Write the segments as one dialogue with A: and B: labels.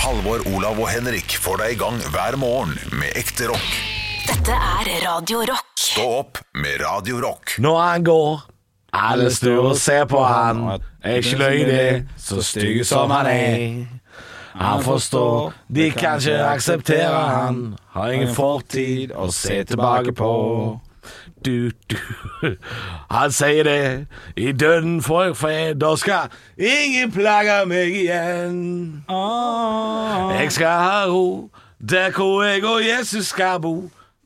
A: Halvor, Olav og Henrik får deg i gang hver morgen med ekte rock.
B: Dette er Radio Rock.
A: Stå opp med Radio Rock.
C: Når han går, alle snur og ser på han. Er ikke løgner, så stygg som han er. Han forstår, de kan ikke akseptere han. Har ingen fortid å se tilbake på. Du, du. Han sier det. I døden får jeg fred, da skal ingen plage meg igjen.
D: Ah.
C: Jeg skal ha ro der hvor jeg og Jesus skal bo.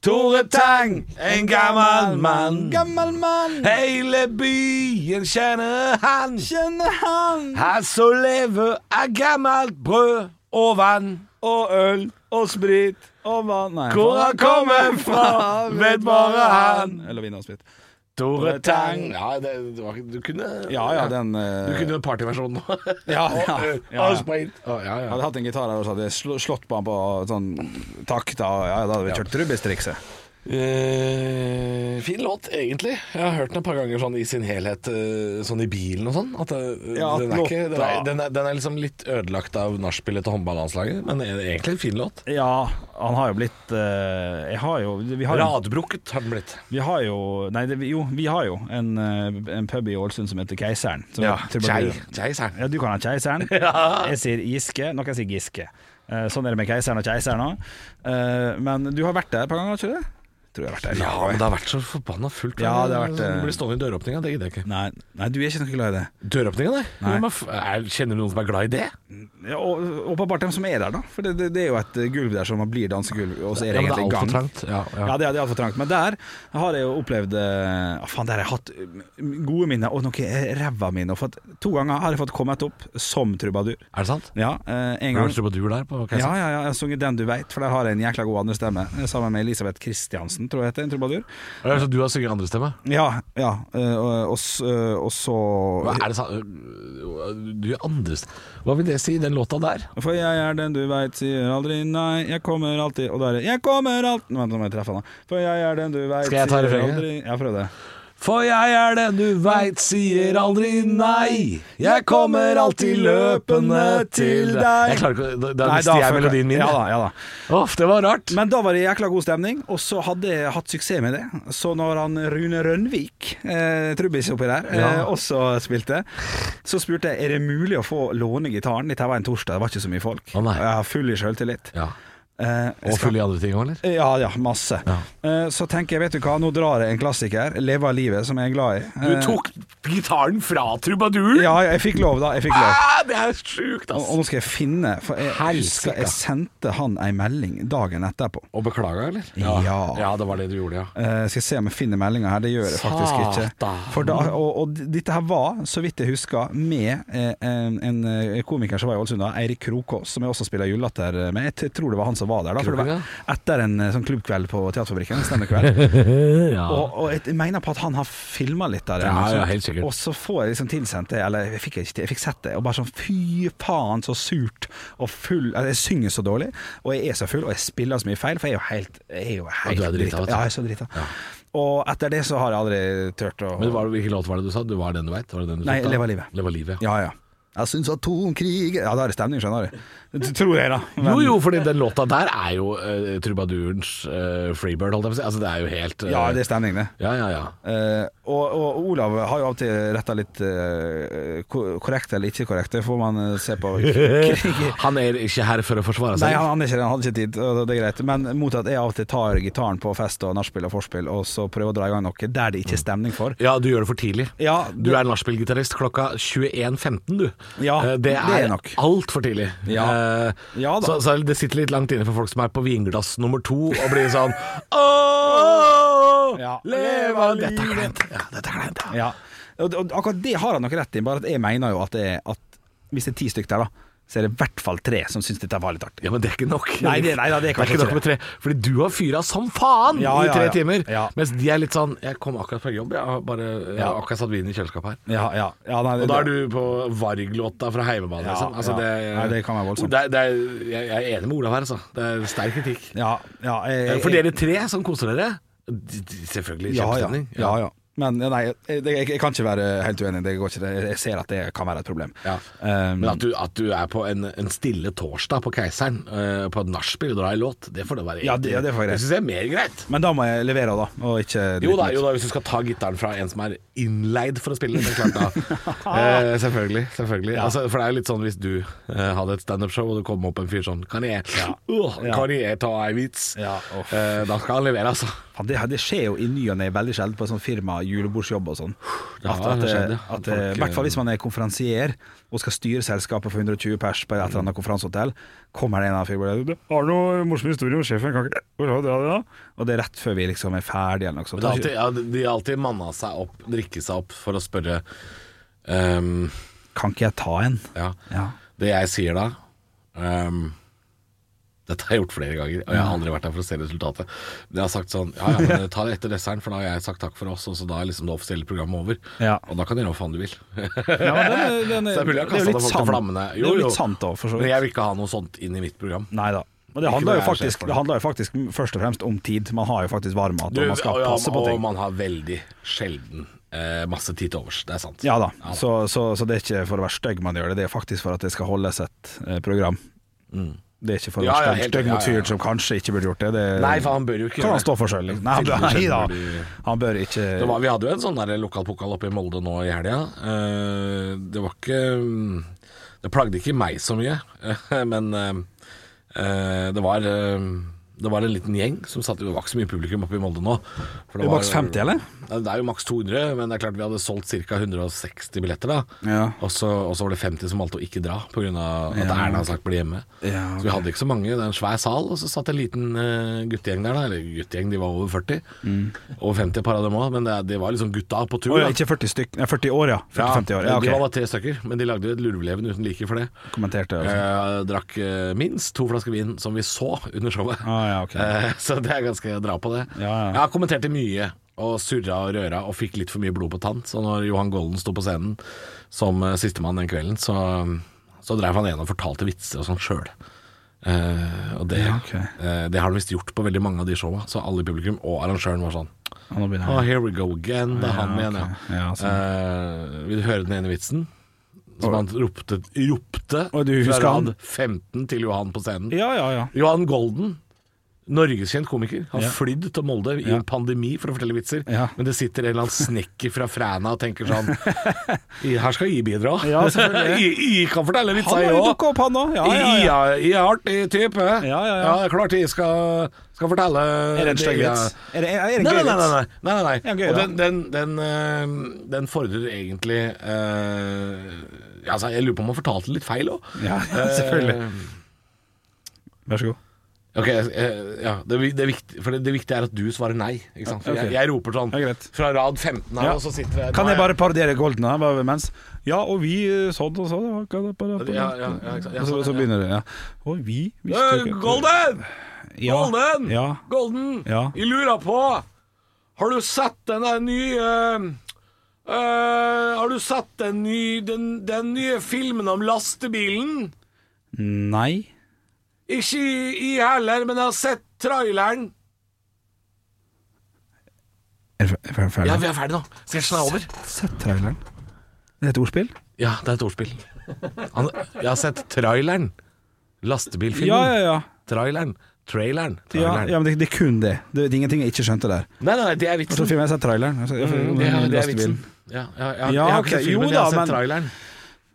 C: Tore Tang, en gammel mann.
D: Gammel mann,
C: Hele byen kjenner han.
D: kjenner han.
C: Han som lever av gammelt brød og vann.
D: Og øl og sprit og vann Nei,
C: Hvor
D: faen.
C: han kommer fra, vet bare han.
D: Eller vin og sprit.
C: Tore Tang Ja, det, det var, ikke- du kunne
D: Ja ja, den eh,
C: Du kunne partyversjonen nå.
D: ja, eh, ja,
C: Og,
D: ja, ja.
C: og sprayt. Å, ja,
D: Jeg
C: ja.
D: hadde hatt en gitar her og så hadde jeg sl- slått på han på sånn takt. Da, ja, da hadde vi kjørt Rubistrikset.
E: Eh, fin låt, egentlig. Jeg har hørt den et par ganger sånn i sin helhet, eh, sånn i bilen og sånn. At eh,
D: Ja,
E: den, er ikke, den,
D: låta.
E: er, den, er, den er liksom litt ødelagt av nachspielet til håndballandslaget, men er det egentlig en fin låt.
D: Ja, han har jo blitt eh, Jeg har jo Vi har jo,
E: Radbrukket har den blitt.
D: vi har jo Nei, det, jo, vi har jo en, eh, en pub i Ålesund som heter Keiseren. som
E: Ja,
D: er
E: Kjei,
D: trubadur.
E: kjei, sa han.
D: Ja, du kan ha keiseren. Jeg sier Giske, noen sier Giske. Eh, sånn er det med keiseren og keiseren òg. men du har vært der et par ganger, har du ikke det? Tror jeg har vært der.
E: Ja, men det har vært så forbanna fullt.
D: Ja, det har vært, eh,
E: Du blir stående i døråpninga, det gidder jeg ikke.
D: Nei, nei, du er ikke noe glad i det.
E: Døråpninga, nei.
D: Nei.
E: Men f- er- Kjenner du noen som er glad i det?
D: Ja, og åpenbart dem som er der, da. For det, det, det er jo et eh, gulv der som blir dansegulv, og så er det
E: men
D: egentlig gang.
E: altfor trangt. Ja, ja.
D: Ja, det, det er altfor trangt. Men der har jeg jo opplevd eh, ah, Faen, der har jeg hatt eh, gode minner og noe eh, ræva minner. For at to ganger har jeg fått kommet opp som trubadur.
E: Er det sant?
D: Ja, eh, en gang
E: Hørte du på dur der? På Keiser?
D: Ja, ja, ja, jeg har sunget Den du veit, for der har jeg en jækla god andrestemme. Sammen med Elisabeth Kristiansen, tror jeg heter, en trubadur.
E: Eller er det sånn at du har sunget andre stemme?
D: Ja, ja. eh, Og, og, s- eh, og så
E: Hva er det sa- Du gjør andres Hva vil det si, den låta der?
D: For jeg er den du veit, sier aldri nei, jeg kommer alltid Og da er det 'jeg kommer alltid' Nå, Vent, nå må jeg treffe han, da. For jeg er den du veit,
E: Skal jeg ta refrenget?
D: Ja, prøv det.
E: For jeg er den du veit sier aldri nei. Jeg kommer alltid løpende til deg. Jeg klarer ikke, å- Da, da
D: Nei,
E: mister jeg
D: fucker-
E: melodien min.
D: Ja
E: jeg.
D: da, ja da.
E: Uff, det var rart.
D: Men da var det jækla god stemning, og så hadde jeg hatt suksess med det. Så når han Rune Rønvik, eh, trubbis oppi der, eh,
E: Ja.
D: også spilte, så spurte jeg er det mulig å få låne gitaren. Dette var en torsdag, det var ikke så mye folk.
E: Å, nei.
D: Og jeg har full i sjøltillit.
E: Ja.
D: Eh, jeg
E: Og
D: skal-
E: full i andre ting òg, eller?
D: Ja, ja, masse.
E: Ja.
D: Eh, så tenker jeg, vet du hva, nå drar jeg en klassiker, 'Leve av livet', som jeg er glad i. Eh,
E: gitaren fra trubaduren? Ah,
D: Ja, ja, jeg fikk lov, da. Jeg fikk lov.
E: det er sjukt,
D: Og og nå skal jeg finne For jeg husker
E: Helsike.
D: jeg sendte han ei melding dagen etterpå.
E: Og beklaga, eller?
D: Ja.
E: ja, det var det du gjorde, ja.
D: Eh, skal jeg se om jeg finner meldinga her. Det gjør jeg faktisk ikke.
E: Satan.
D: For da, og, og dette her var, så vidt jeg husker, med eh, en, en eh, komiker som var i Ålesund, da, Eirik Krokås, som jeg også spiller julelatter med. Jeg t- tror det var han som var der, da. For det
E: Krokås,
D: var etter en eh, sånn klubbkveld på Teaterfabrikken. en Stemmekveld.
E: ja.
D: Og, og jeg mener på at han har filma litt av det.
E: Ja,
D: og sånt.
E: ja, helt sikkert.
D: Og så får jeg liksom tilsendt det, eller jeg fikk, ikke, til- jeg fikk sett det, og bare sånn fy faen så surt og full altså, Jeg synger så dårlig, og jeg er så full, og jeg spiller så mye feil, for jeg er jo helt, jeg er jo helt
E: du er drita, vet du.
D: Ja, jeg er så drita. Og etter det så har jeg aldri turt å
E: Men var det, hvilken låt var det du sa? Du var den du veit?
D: Nei, Leva livet.
E: Leva livet, ja.
D: Ja, ja. Jeg syns atomkrig Ja, da er det stemning, skjønner du. Det Tror jeg, da. Men-
E: Jo, jo, fordi den låta der er jo eh, trubadurens eh, Freebird, holdt jeg på å si. Altså, det er jo helt eh,
D: Ja, det er stemning, det.
E: ja, ja, ja.
D: Eh, og, og Olav har jo alltid retta litt eh, ko- korrekt eller ikke korrekt, det får man eh, se på.
E: Han er ikke her for å forsvare
D: Nei,
E: seg.
D: han, er ikke, det, han hadde ikke tid, og det er greit. Men mot at jeg av og til tar gitaren på fest og nachspiel og vorspiel, og så prøver å dra i gang noe der det ikke er stemning for.
E: Ja, du gjør det for tidlig.
D: Ja,
E: Du er nachspiel-gitarist klokka 21.15, du.
D: Ja,
E: Eh,
D: det
E: det
D: er
E: er,
D: nok.
E: altfor tidlig.
D: Ja.
E: Eh,
D: Ja da.
E: så, så det sitter litt langt inne for folk som er på vinglass nummer to og blir sånn Ååå,
D: Ja.
E: leva livet! Dette er kleint. Ja, dette er kleint, ja.
D: Ja. Og, og akkurat det har han nok rett i, bare at jeg mener jo at, det er, at hvis det er ti stykker der, da, så er det i hvert fall tre som syns dette var litt artig.
E: Ja, men det er ikke nok.
D: Nei, det- nei da, det er kanskje
E: ikke nok med tre. Fordi du har fyra som faen
D: Ja, ja,
E: i tre
D: ja.
E: timer.
D: Ja.
E: Mens de er litt sånn Jeg kom akkurat fra jobb, jeg har bare jeg har
D: Ja.
E: akkurat satt vin i kjøleskapet her.
D: Ja, ja, ja nei,
E: Og da er du på Varg-låta fra Heimebane,
D: Ja,
E: liksom. Altså,
D: ja.
E: det,
D: Nei, det kan være voldsomt.
E: Det er, det er, jeg, jeg er enig med Olav her, altså. Det er sterk kritikk.
D: ja, ja, jeg,
E: For dere tre som koser dere, d- d- selvfølgelig
D: ja, ja,
E: kjempestemning.
D: ja, ja. Men ja, nei, jeg, jeg, jeg kan ikke være helt uenig. Det går ikke, det- jeg ser at det kan være et problem.
E: Ja.
D: Um,
E: Men at du, at du er på en, en stille torsdag på Keiseren, eh, på et nachspiel og drar en låt, det får da være
D: Ja, det- ja, det får være greit.
E: syns jeg er mer greit.
D: men da må jeg levere, da. Og ikke
E: Jo da, jo da, hvis du skal ta gitaren fra en som er innleid for å spille, det er klart da. Eh, selvfølgelig. selvfølgelig. Altså, for det er jo litt sånn hvis du eh, hadde et standup-show og det kom opp en fyr sånn Kan jeg, Åh, kan jeg ta ei vits?
D: Ja, uff.
E: Eh, da skal han levere, altså.
D: Faen, det, det skjer jo i ny og ne veldig sjelden på sånn firma, julebordsjobb og sånn.
E: Ja,
D: At, at,
E: det skjedde.
D: at,
E: Folk-
D: I hvert fall hvis man er konferansier og skal styre selskapet for 120 pers på et eller annet konferansehotell. Kommer det en av firmaene Har du noen morsom historie om sjefen? Kan ikke Hvor har du det da?» Og det er rett før vi liksom er ferdige eller noe sånt.
E: Men det er alltid, ja, de- de har alltid manna seg opp, drikke seg opp, for å spørre ehm,
D: Kan ikke jeg ta en?
E: ja.
D: Ja.
E: Det jeg sier da ehm, Dette har jeg gjort flere ganger, og jeg
D: Mm.
E: har aldri vært der for å se resultatet. Men jeg har sagt sånn Ja, ja, men ta det etter desserten, for da har jeg sagt takk for oss, og så da er liksom det offisielle programmet over.
D: Ja.
E: Og da kan du gjøre hva faen du vil.
D: Ja, men den er- den er-
E: så det er mulig jeg har
D: det er jo
E: kasta
D: litt
E: folk
D: sant.
E: til flammene.
D: Det er jo litt sant da, for så vidt.
E: Men jeg vil ikke ha noe sånt inn i mitt program.
D: Nei da. Men det
E: Ikke
D: handler,
E: når jeg
D: jo
E: er sjef
D: faktisk,
E: for
D: det
E: det.
D: handler jo faktisk først og fremst om tid. Man har jo faktisk varmmat, og man skal
E: og, ja,
D: passe på
E: og
D: ting.
E: man har veldig sjelden eh, masse tid til overs. Det er sant.
D: Ja da, så, så, så det er ikke for å være stygg man gjør det, det er faktisk for at det skal holdes et eh, program.
E: Mm.
D: Det er ikke for å
E: Ja,
D: være
E: ja,
D: stygg-
E: helt-
D: stygg mot
E: ja, ja, ja.
D: fyren som kanskje ikke burde gjort det. det
E: Nei, for han bør jo ikke
D: Kan
E: gjøre
D: han stå for sjøl? Nei,
E: Fyren
D: nei da,
E: selv burde-
D: han bør ikke
E: Det var, vi hadde jo en sånn der lokalpokal oppe i Molde nå i helga. Eh, det var ikke mm, Det plagde ikke meg så mye, men eh, eh, det var eh, det var en liten gjeng som satt Det var ikke så mye publikum oppe i Molde nå. for
D: Det er maks 50, eller?
E: Ja, Det er jo maks 200, men det er klart vi hadde solgt ca. 160 billetter da.
D: Ja.
E: Og, så, og så var det 50 som valgte å ikke dra pga. at Erna hadde sagt bli hjemme.
D: Ja,
E: Så vi hadde ikke så mange. Det er en svær sal, og så satt en liten eh, guttegjeng der. da Eller guttegjeng, de var over 40. Over 50 et par av dem òg, men det, det var liksom gutta på tur.
D: Mm. Å ja,
E: da.
D: ikke 40 stykk, nei, 40 år, ja. 40-50 år. Ja,
E: De var
D: ok.
E: bare tre stykker, men de lagde et lurveleven uten like for det.
D: Kommenterte og sånn.
E: Eh, drakk eh, minst to flasker vin som vi så under showet.
D: Ah, ja, ok.
E: Eh, så det er ganske dra på det.
D: Ja, ja.
E: Jeg har kommentert det mye, og surra og røra og fikk litt for mye blod på tann. Så når Johan Golden sto på scenen som eh, sistemann den kvelden, så, så dreiv han igjen og fortalte vitser og sånn sjøl. Eh, og det,
D: Ja, ok.
E: eh, det har han visst gjort på veldig mange av de showa, så alle i publikum og arrangøren var sånn
D: Ja, nå begynner
E: Oh,
D: jeg.
E: here we go again. Det er han
D: Ja,
E: igjen,
D: ok.
E: ja.
D: Ja, sånn.
E: Eh, vil du høre den ene vitsen? Som han ropte, ropte
D: Og du husker
E: fra
D: han?
E: rad 15 til Johan på scenen.
D: Ja, ja, ja.
E: Johan Golden, norgeskjent komiker, har
D: Ja.
E: flydd til Molde i
D: Ja.
E: en pandemi for å fortelle vitser.
D: Ja.
E: Men det sitter en eller annen snekker fra Fræna og tenker sånn «I- Her skal jeg bidra.
D: Ja, selvfølgelig.
E: jeg, jeg kan fortelle vitser,
D: Han har
E: jeg
D: jo
E: òg.
D: dukka opp, han òg. Ja, ja, ja.
E: Jeg er- jeg er artig type.
D: ja, ja.
E: det er klart jeg skal, skal fortelle
D: Er det en stygg
E: jeg-
D: vits? Er det, er det en
E: Nei, nei,
D: gøy
E: nei.
D: vits?
E: nei, nei, nei, nei.
D: Ja, gøy,
E: og
D: da.
E: den, den, den, eh, den fordrer egentlig eh, altså, Jeg lurer på om han fortalte litt feil Eh, òg.
D: Ja, ja, selvfølgelig. Vær så god.
E: Ok, eh, ja, det, vi- det, er viktig, for det, det viktige er at du svarer nei. Ikke sant? For
D: Ok.
E: jeg, jeg roper sånn
D: Ja, greit.
E: fra rad 15 her,
D: Ja.
E: og så sitter jeg
D: Kan
E: nå
D: jeg
E: er
D: bare parodiere Golden her bare mens? Ja, og vi eh, sånn og sånn og hva- hva- hva-
E: Ja, ja, ja, ikke sant. Ja,
D: Og så,
E: sånn, ja.
D: så begynner det, ja. Og vi
E: Eh,
D: visste jo ikke-
E: Golden!
D: Ja,
E: Golden!
D: Ja.
E: Golden!
D: Ja.
E: Jeg lurer på Har du sett den der nye eh, eh, Har du sett den, ny, den, den nye filmen om lastebilen?
D: Nei.
E: Ikke jeg heller, men jeg har sett traileren.
D: Er det fer- er det ferdig?
E: Ja, vi er ferdig nå. Sketsjen er over.
D: Sett traileren. Det er et ordspill?
E: Ja, det er et ordspill. Han, jeg har sett traileren. Lastebilfilmen.
D: Ja, ja, ja.
E: Traileren. Traileren.
D: ja,
E: traileren.
D: ja men det, det er kun det. det. Det er ingenting jeg ikke skjønte der.
E: Nei, nei, nei, det er
D: Jeg tror
E: vitsen.
D: filmen jeg har sett traileren. Jeg, jeg, jeg,
E: Mm, Det er, det er
D: lastebil.
E: vitsen. Ja, ja, ja,
D: Ja,
E: jeg har
D: ok,
E: ikke sett filmen,
D: jo
E: jeg har
D: da,
E: sett
D: men-
E: traileren.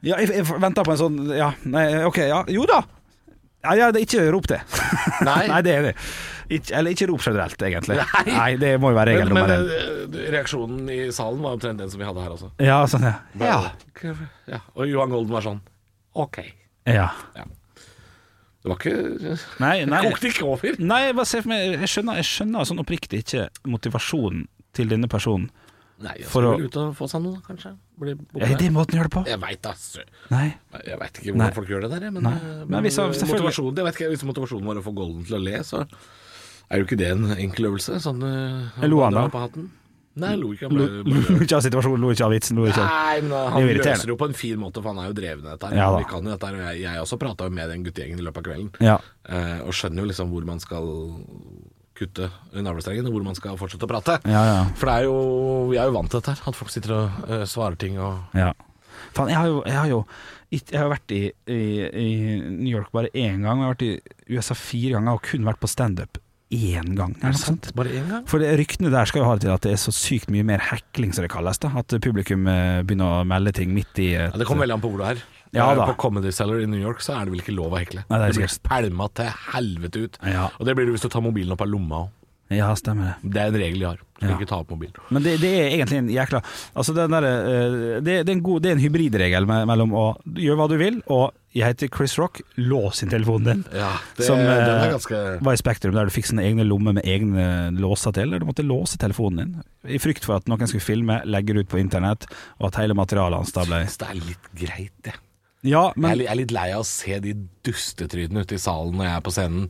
D: Ja, jeg, jeg venta på en sånn Ja, nei, OK, ja. Jo da! Ja, ja, det er ikke rop det.
E: Nei.
D: Nei, det er det. Ikke, eller ikke rop generelt, egentlig.
E: Nei.
D: det må jo være
E: Men,
D: regel
E: men
D: nummer én.
E: eh, reaksjonen i salen var omtrent den som vi hadde her også.
D: Ja, sånn, ja. Ja.
E: ja. Og Johan Golden var sånn OK. Det
D: ja.
E: var ikke
D: Nei, nei.
E: Kokte ikke over.
D: nei bare se for meg, jeg skjønner, jeg skjønner sånn oppriktig ikke motivasjonen til denne personen.
E: Nei, jeg
D: For
E: skal
D: å-
E: vel ut og få seg noe, da, kanskje. Bli borte.
D: Er det måten å gjøre det på?
E: Jeg veit da. sø-
D: Nei.
E: Jeg veit ikke hvordan
D: Nei.
E: folk gjør det der, jeg, men,
D: Nei.
E: men,
D: Men hvis-
E: eh,
D: selvfølgelig-
E: motivasjonen, jeg vet ikke, hvis motivasjonen var å få Golden til å le, så er jo ikke det en enkel øvelse. Sånn, eh,
D: Lo han
E: drar
D: da?
E: På hatten. Nei, jeg lo ikke. Han
D: Lo
E: ble,
D: lo ikke av situasjonen, lo ikke av vitsen, lo ikke av
E: Nei, men
D: Det
E: han
D: er jo irriterende.
E: løser det jo på en fin måte, for han er jo dreven av dette. her.
D: Ja da.
E: Vi kan jo dette her, og jeg, jeg også prata med den guttegjengen i løpet av kvelden,
D: Ja.
E: eh, og skjønner jo liksom hvor man skal kutte navlestrengen, hvor man skal fortsette å prate.
D: Ja, ja.
E: For det er jo, jeg er jo vant til dette her, at folk sitter og eh, svarer ting og
D: Ja. Faen, jeg har jo, jeg har jo ikke- jeg har vært i, i, i New York bare én gang, og jeg har vært i USA fire ganger og kun vært på standup én gang. Er det sant?
E: Bare én gang?
D: For det- ryktene der skal jo ha det til at det er så sykt mye mer hekling, som det kalles. da At publikum eh, begynner å melde ting midt i et,
E: Ja, det kommer veldig an på hvor du er.
D: Ja,
E: Eh,
D: da.
E: På Comedy Cellar i New York så er det vel ikke lov å hekle.
D: Nei, det er
E: blir
D: sikkert.
E: pælma til helvete ut.
D: Ja.
E: Og det blir det hvis du tar mobilen opp av lomma òg.
D: Ja, stemmer det.
E: Det er en regel de har. Du skal
D: Ja.
E: ikke ta opp mobilen.
D: Men det, det er egentlig en jækla Altså den der, eh, det, det, er en god, det er en hybridregel me- mellom å gjøre hva du vil, og jeg heter Chris Rock, lås inn telefonen din.
E: Ja, det,
D: Som, eh,
E: den er ganske
D: var i Spektrum, der du fikk sånne egne lommer med egne låser til. Der du måtte låse telefonen din, i frykt for at noen skulle filme, legge det ut på internett, og at hele materialet hans da ble
E: Jeg synes det er litt greit, det.
D: Ja,
E: jeg, er,
D: men
E: li- jeg er litt lei av å se de dustetrydene ute i salen når jeg er på scenen,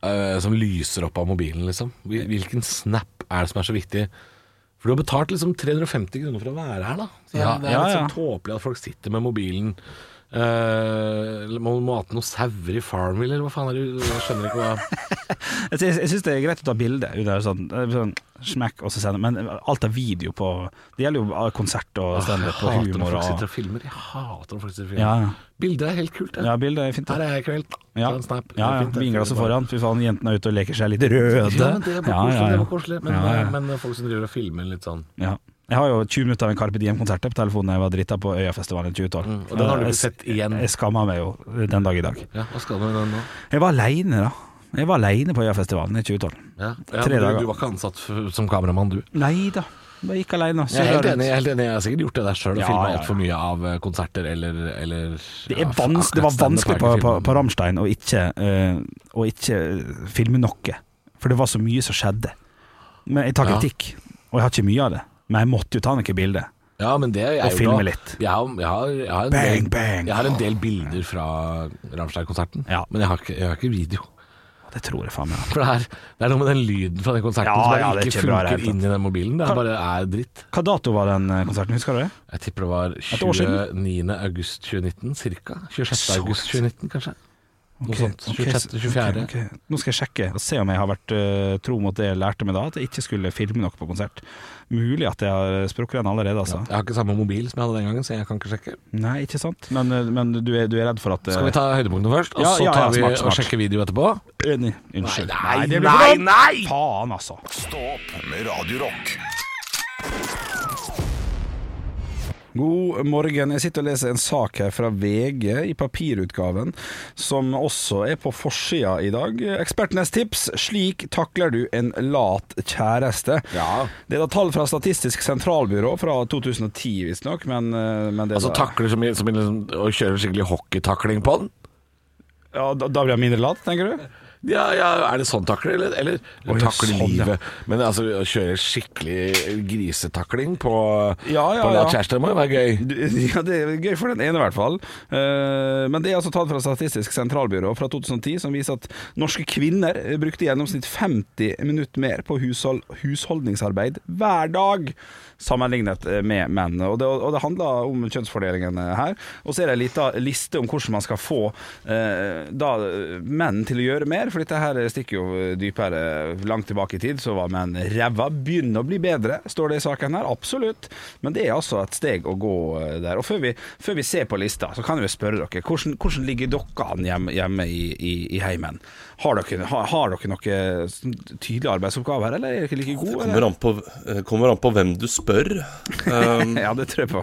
E: øh, som lyser opp av mobilen, liksom. Hvil- Hvilken snap er det som er så viktig? For du har betalt liksom 350 kroner for å være her, da. Så
D: Ja,
E: det er
D: ja,
E: litt
D: ja.
E: sånn tåpelig at folk sitter med mobilen. øh, Eller man må ate noen sauer i Farmville, eller hva faen er det Jeg skjønner ikke hva
D: jeg, jeg, jeg syns det er greit å ta bilde. under Sånn, sånn smekk, og så sende. Men alt av video på Det gjelder jo av konsert og
E: Jeg
D: standup og
E: hater når
D: humor
E: folk sitter
D: og
E: og filmer. Jeg hater når folk sitter og filmer.
D: Ja, ja.
E: Bilder er helt kult, det.
D: ja bilde er fint.
E: Her
D: det.
E: er jeg i kveld.
D: Ja,
E: Ta en snap.
D: ja, ja.
E: Fint, det.
D: Vinglasset foran. Fy faen, jentene er ute og leker seg litt røde.
E: Ja, men det var
D: Ja,
E: koselig.
D: ja,
E: Det
D: ja.
E: var koselig. Men, eh,
D: Ja, ja.
E: men folk som driver og filmer litt sånn
D: Ja. Jeg har jo 20 minutter av en Carpe Diem-konsert på telefonen da jeg var drita på Øyafestivalen i 2012.
E: Mm, og den har du ikke
D: Jeg-
E: sett igjen.
D: Jeg skamma meg jo den dag i dag.
E: Ja, hva skal du med den nå?
D: Jeg var aleine, da. Jeg var aleine på Øyafestivalen i 2012.
E: Ja,
D: Tre
E: men
D: dager.
E: du, du var ikke ansatt f- som kameramann, du.
D: Nei da, jeg gikk aleine.
E: Jeg er helt enig, jeg, er helt enig. jeg har sikkert gjort det der sjøl, og
D: Ja,
E: filma
D: ja, ja.
E: altfor mye av eh, konserter eller, eller
D: Det, er vans det var vanskelig på, på, på Ramstein å ikke, eh, å ikke eh, filme noe, for det var så mye som skjedde. Men jeg tar
E: Ja.
D: kritikk, og jeg har ikke mye av det. Men jeg måtte jo ta noen bilder.
E: Ja, men det er
D: Og
E: jo da-
D: filme litt.
E: Jeg har, jeg har, jeg har en
D: Bang,
E: del,
D: bang.
E: Jeg har en del bilder fra Ramstein-konserten,
D: Ja.
E: men jeg har, ikke, jeg har ikke video.
D: Det tror jeg faen meg.
E: For det er, det er noe med den lyden fra den konserten
D: Ja,
E: som bare
D: ja, det er
E: ikke
D: ikke bra i det
E: funker
D: hele
E: inn i den mobilen. Det er bare er dritt.
D: Hva dato var den eh, konserten, husker du det?
E: Jeg tipper det var
D: Et år siden?
E: 29. august 2019, cirka. 26.
D: Så
E: august
D: rett.
E: 2019, kanskje. Noe
D: Ok,
E: sånt.
D: ok,
E: 26.
D: ok,
E: 24.
D: ok. Nå skal jeg sjekke og se om jeg har vært eh, tro mot det jeg lærte meg da, at jeg ikke skulle filme noe på konsert. Mulig at jeg har eh, sprukket den allerede, altså.
E: Jeg har ikke samme mobil som jeg hadde den gangen, så jeg kan ikke sjekke.
D: Nei, ikke sant? Men, eh, men du, er, du er redd for at eh,
E: Skal vi ta høydepunktene først, og
D: Ja,
E: så
D: ja,
E: tar
D: ja,
E: vi
D: smart, smart.
E: og sjekker video etterpå?
D: Enig. Unnskyld.
E: Nei,
D: det blir
E: nei,
D: for dumt.
E: nei!
D: Faen, altså.
A: Stå opp med Radio Rock.
D: God morgen. Jeg sitter og leser en sak her fra VG i papirutgaven, som også er på forsida i dag. Ekspertenes tips 'Slik takler du en lat kjæreste'.
E: Ja.
D: Det er da tall fra Statistisk sentralbyrå fra 2010, visstnok. Men, eh, men det
E: Altså
D: da-
E: takler som, i- som i liksom, og kjører skikkelig hockeytakling på den?
D: ja, da, da blir jeg mindre lat, tenker du?
E: Ja, ja, er det sånn takler, eller, eller
D: Å, ja,
E: takler
D: sånn, ja.
E: livet? Men altså, å kjøre skikkelig grisetakling på,
D: Ja, ja,
E: på
D: ja.
E: Lars Kjærstad må jo være gøy.
D: Du- Ja, det er gøy for den ene i hvert fall. Eh, Men det er altså tall fra Statistisk sentralbyrå fra 2010 som viser at norske kvinner brukte i gjennomsnitt 50 minutter mer på hushold, husholdningsarbeid hver dag, sammenlignet eh, med menn. Og det, og det handler om kjønnsfordelingen eh, her. Og så er det en liten liste om hvordan man skal få eh, da, menn til å gjøre mer, for dette her stikker jo dypere langt tilbake i tid, så var menn ræva. Begynner å bli bedre, står det i saken her. Absolutt. Men det er altså et steg å gå eh, der. Og før vi, før vi ser på lista, så kan jeg jo spørre dere, hvordan, hvordan ligger dere an hjemme, hjemme i, i, i heimen? Har dere, har, har dere noen sånn tydelige arbeidsoppgaver, eller er dere like gode?
F: Kommer
D: eller?
F: an på, eh, kommer an på hvem du spør. Um,
D: Ja, det tror jeg på.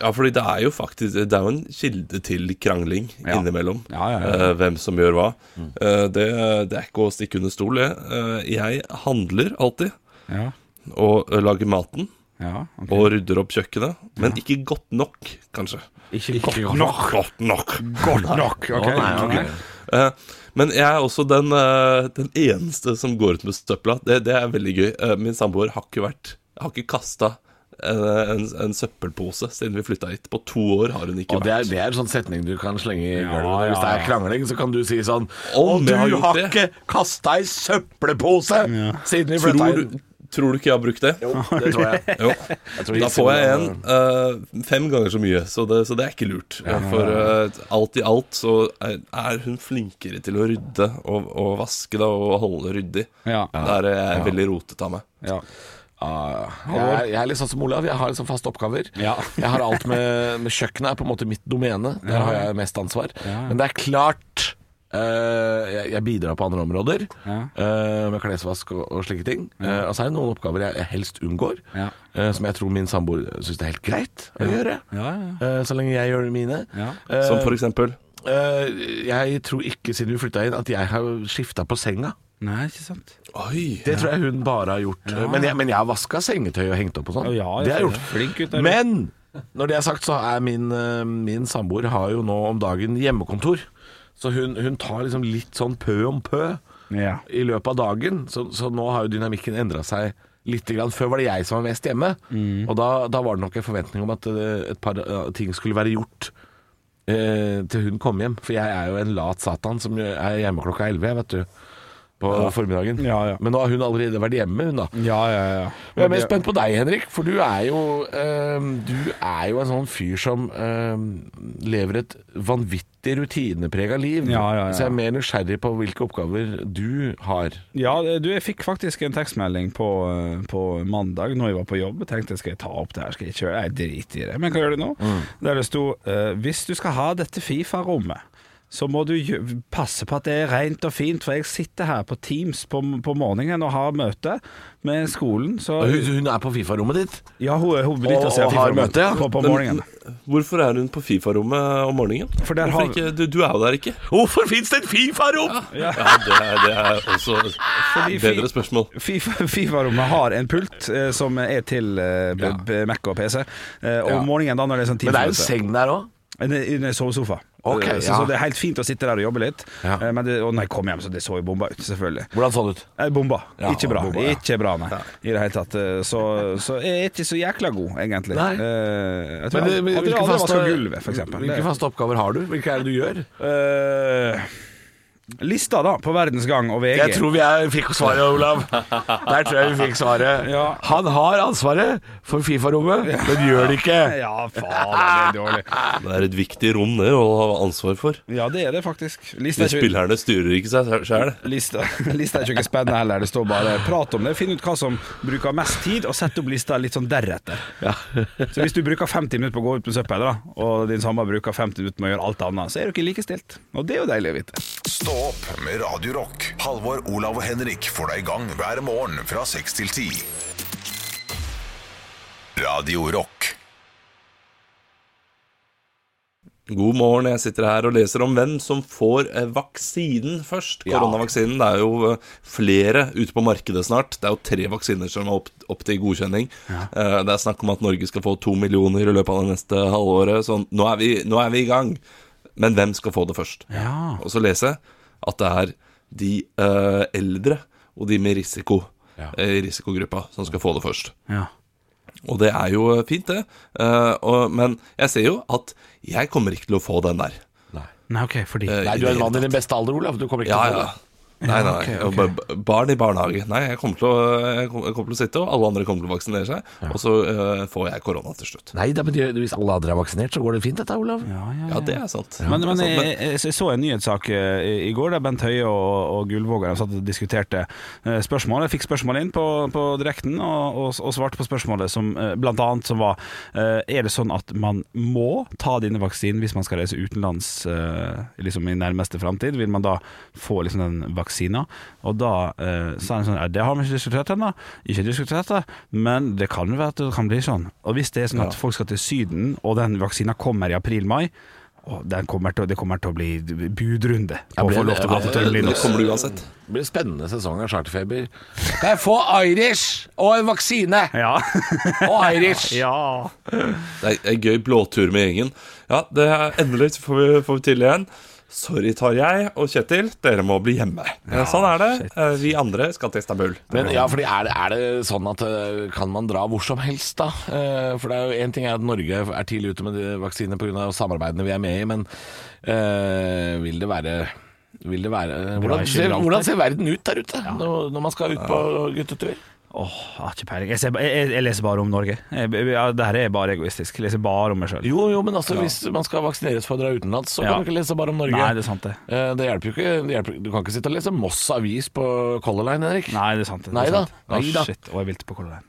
F: ja, fordi det er jo faktisk Det er jo en kilde til krangling
D: Ja.
F: innimellom.
D: Ja, ja, ja. Mm.
F: eh, hvem som gjør hva. Eh, det, det er ikke å stikke under stol, det. Eh, jeg handler alltid,
D: Ja,
F: og eh, lager maten.
D: ja, ok.
F: Og rydder opp kjøkkenet, men ikke godt nok, kanskje.
D: Ikke godt
E: godt
D: nok.
F: Godt nok.
D: Godt nok, ok.
E: Å, nei, ok.
F: Eh, men jeg er også den, eh, den eneste som går ut med søpla. Det, det er veldig gøy. Eh, min samboer har ikke vært Har ikke kasta en, en, en søppelpose siden vi flytta hit. På to år har hun ikke
E: Og det er,
F: vært
E: det er en sånn setning du kan slenge i
D: Ja,
E: gulvet. Hvis
D: ja,
E: det er
D: ja.
E: krangling, så kan du si sånn Å,
F: Om
E: du
F: jeg har
E: har,
F: gjort det?»
E: ikke kasta ei søppelpose siden vi flytta
F: tror,
E: inn.
F: du, Tror du ikke jeg har brukt det?
E: Det tror jeg.
F: Jo.
E: jeg tror
F: Da
E: Iselin
F: får jeg
E: har-
F: en eh, fem ganger så mye, så det, så det er ikke lurt. For eh, alt i alt så er, er hun flinkere til å rydde og, og vaske da, og holde ryddig.
D: Ja.
F: Der er jeg veldig rotete av meg.
D: Ja.
E: Ah, jeg, er- jeg er litt sånn som Olav, jeg har liksom faste oppgaver.
D: Ja.
E: jeg har alt med, med kjøkkenet er på en måte mitt domene. Der har jeg mest ansvar. Men det er klart eh, jeg, jeg bidrar på andre områder, eh, med klesvask og, og slike ting. Eh, og så er det noen oppgaver jeg, jeg helst unngår,
D: Ja.
E: eh, som jeg tror min samboer syns det er helt greit å gjøre. Eh, så lenge jeg gjør mine. Eh,
F: Som for eksempel
E: eh, jeg tror ikke, siden vi flytta inn, at jeg har skifta på senga.
D: Nei, ikke sant?
F: Oi!
E: Det tror jeg hun bare har gjort. Men, jeg, men jeg har vaska sengetøy og hengt opp og sånn.
D: Ja, jeg
E: det har jeg
D: tror
E: gjort.
D: det. Flink gutt er du.
E: men når det er sagt, så er min, eh, min samboer har jo nå om dagen hjemmekontor. Så hun, hun tar liksom litt sånn pø om pø
D: Ja.
E: i løpet av dagen. Så, så nå har jo dynamikken endra seg litt. Grann. Før var det jeg som var mest hjemme.
D: Mm.
E: Og da, da var det nok en forventning om at eh, et par eh, ting skulle være gjort eh, til hun kom hjem. For jeg er jo en lat satan som er hjemme klokka elleve, vet du. På formiddagen.
D: Ja, ja.
E: Men nå har hun allerede vært hjemme, hun da.
D: Ja, ja, ja.
E: Jeg er mest spent på deg, Henrik, for du er jo, øhm, du er jo en sånn fyr som øhm, lever et vanvittig rutineprega liv.
D: Ja, ja, ja.
E: Så jeg er mer nysgjerrig på hvilke oppgaver du har.
D: Ja, du, jeg fikk faktisk en tekstmelding på, eh, på mandag når jeg var på jobb. Jeg tenkte skal jeg ta opp det her, skal jeg kjøre? Jeg driter i det, men hva gjør du nå?
E: Mm.
D: Der det sto eh, hvis du skal ha dette Fifa-rommet, så må du gjø- passe på at det er rent og fint, for jeg sitter her på Teams på, på morgenen og har møte med skolen. Så
E: Hun, hun er på Fifa-rommet ditt.
D: ja, hun, hun benytter
E: Og-
D: seg
E: og
D: av
E: har
D: Fifa-rommet
E: møte, ja.
D: på, på
F: Men
D: morgenen.
F: hvorfor er hun på Fifa-rommet om morgenen?
D: For der
F: Hvorfor
D: har-
F: ikke, du, du er jo der ikke.
E: Hvorfor fins det et Fifa-rom?!
F: Ja, det, er, det er også et bedre spørsmål.
D: Fifa- Fifa-rommet har en pult eh, som er til eh, b- b- Mac og PC. Eh, og
E: Ja.
D: om morgenen da når det er sånn
E: Men det er jo en
D: Teams-møte.
E: seng der òg.
D: En, en sovesofa.
E: Ok,
D: Eh, så,
E: ja.
D: så det er helt fint å sitte der og jobbe litt.
E: Ja.
D: Eh, Men det, og når jeg kom hjem, så det så jo bomba ut, selvfølgelig.
E: Hvordan så det ut?
D: Eh, bomba.
E: Ja,
D: ikke bra.
E: bomba, ja.
D: Ikke bra, nei. I det hele tatt. Eh, Så, så jeg er ikke så jækla god, egentlig.
E: Nei.
D: Eh, jeg
E: Men,
D: tror jeg
E: men
D: aldri-
E: hvilke,
D: aldri
E: faste,
D: vasker gulvet, for eksempel.
E: hvilke faste oppgaver har du? Hvilke er det du gjør?
D: Eh, lista, da, på Verdens Gang og VG.
E: Jeg tror vi er, fikk svaret, Olav. Der tror jeg vi fikk svaret.
D: Ja.
E: Han har ansvaret for Fifa-rommet, men gjør det ikke.
D: Ja, faen, det er dårlig.
F: Det er et viktig rom det å ha ansvar for.
D: Ja, det er det faktisk. Lista
F: De
D: er ikke-
F: spillerne styrer ikke seg sjæl.
D: Lista, lista er ikke noe spennende heller. Det står bare 'prat om det'. Finn ut hva som bruker mest tid, og sett opp lista litt sånn deretter. så hvis du bruker 50 minutter på å gå ut med søppel, da, og din samboer bruker 50 minutter med å gjøre alt annet, så er dere likestilt. Og det er jo deilig å vite.
A: Stå opp med Radio Rock. Halvor, Olav og Henrik får deg i gang hver morgen fra 6 til 10. Radio Rock.
F: God morgen, jeg sitter her og leser om hvem som får eh, vaksinen først. Koronavaksinen. Det er jo eh, flere ute på markedet snart. Det er jo tre vaksiner som er opp, opp til godkjenning. Eh, Det er snakk om at Norge skal få to millioner i løpet av det neste halvåret. Så nå er vi, nå er vi i gang. Men hvem skal få det først? Og så leser jeg at det er de eh, eldre og de med risiko eh, i risikogruppa som skal få det først. Og det er jo fint, det. Eh, og, men jeg ser jo at jeg kommer ikke til å få den der.
D: Nei, OK, fordi
F: eh,
E: Nei,
F: i
E: du er
F: det
E: en mann
F: hele
E: i din beste alder, Olav. Du kommer
F: tatt.
E: ikke
F: Ja,
E: til å
F: ja.
E: få det.
F: Nei, nei, nei. Og b- b- Barn i barnehage. Nei, jeg kommer, til å, jeg kom- jeg kommer til å sitte, og alle andre kommer til å vaksinere seg. Og så eh, får jeg korona til slutt.
E: Nei, da, men det- hvis alle andre er vaksinert, så går det fint dette, Olav.
F: Ja, det er sant.
D: Men,
F: Det er
D: men
F: sant,
E: eh,
D: jeg, jeg, jeg så en nyhetssak eh, i, i går der Bent Høie og, og Gullvåger satt og diskuterte eh, spørsmål. Jeg fikk spørsmål inn på, på direkten og, og, og svarte på spørsmålet som eh, blant annet som var eh, Er det sånn at man må ta denne vaksinen hvis man skal reise utenlands eh, liksom i nærmeste framtid? Vil man da få liksom den vaksina? Og da eh, sa han sånn «Ja, Det har vi ikke diskutert ennå. Ikke diskutert det, men det kan jo være at det kan bli sånn. Og hvis det er sånn at folk skal til Syden, og den vaksina kommer i april-mai Åh, den kommer til, det kommer til å bli budrunde på å få lov til å gå på
F: men det
D: Tøyenlinus.
F: kommer du uansett.
E: Det blir spennende sesong av charterfeber. Kan jeg få Irish og en vaksine?
D: Ja.
E: Og Irish!
D: ja.
F: Det er en gøy blåtur med gjengen. Ja, det er endelig så får vi, får vi til igjen. Sorry, Tarjei og Kjetil, dere må bli hjemme. Eh, sånn er det. Eh, Vi andre skal til Istanbul.
E: Men ja, fordi er det, er det sånn at eh, kan man dra hvor som helst da? Eh, For det er jo en ting er at Norge er tidlig ute med de vaksinene pga. samarbeidene vi er med i, men eh, vil det være vil det være, hvordan, ser, hvordan ser verden ut der ute når, når man skal ut på guttetur?
D: Åh, jeg har ikke peiling. Jeg, ser, ba- jeg, jeg- jeg leser bare om Norge. Jeg, jeg, ja, det her er bare egoistisk. Jeg leser bare om meg sjøl.
E: Jo, jo, men altså, hvis man skal vaksineres for å dra utenlands, så
D: Ja.
E: kan du ikke lese bare om Norge.
D: Nei, det er sant, det.
E: Eh, det hjelper jo ikke. Det hjelper, du kan ikke sitte og lese Moss Avis på Color Line, Henrik.
D: Nei, det er sant. Det,
E: Nei
D: det er
E: da.
D: sant. Å,
E: Nei da.
D: shit. Å, jeg vilte på Color Line.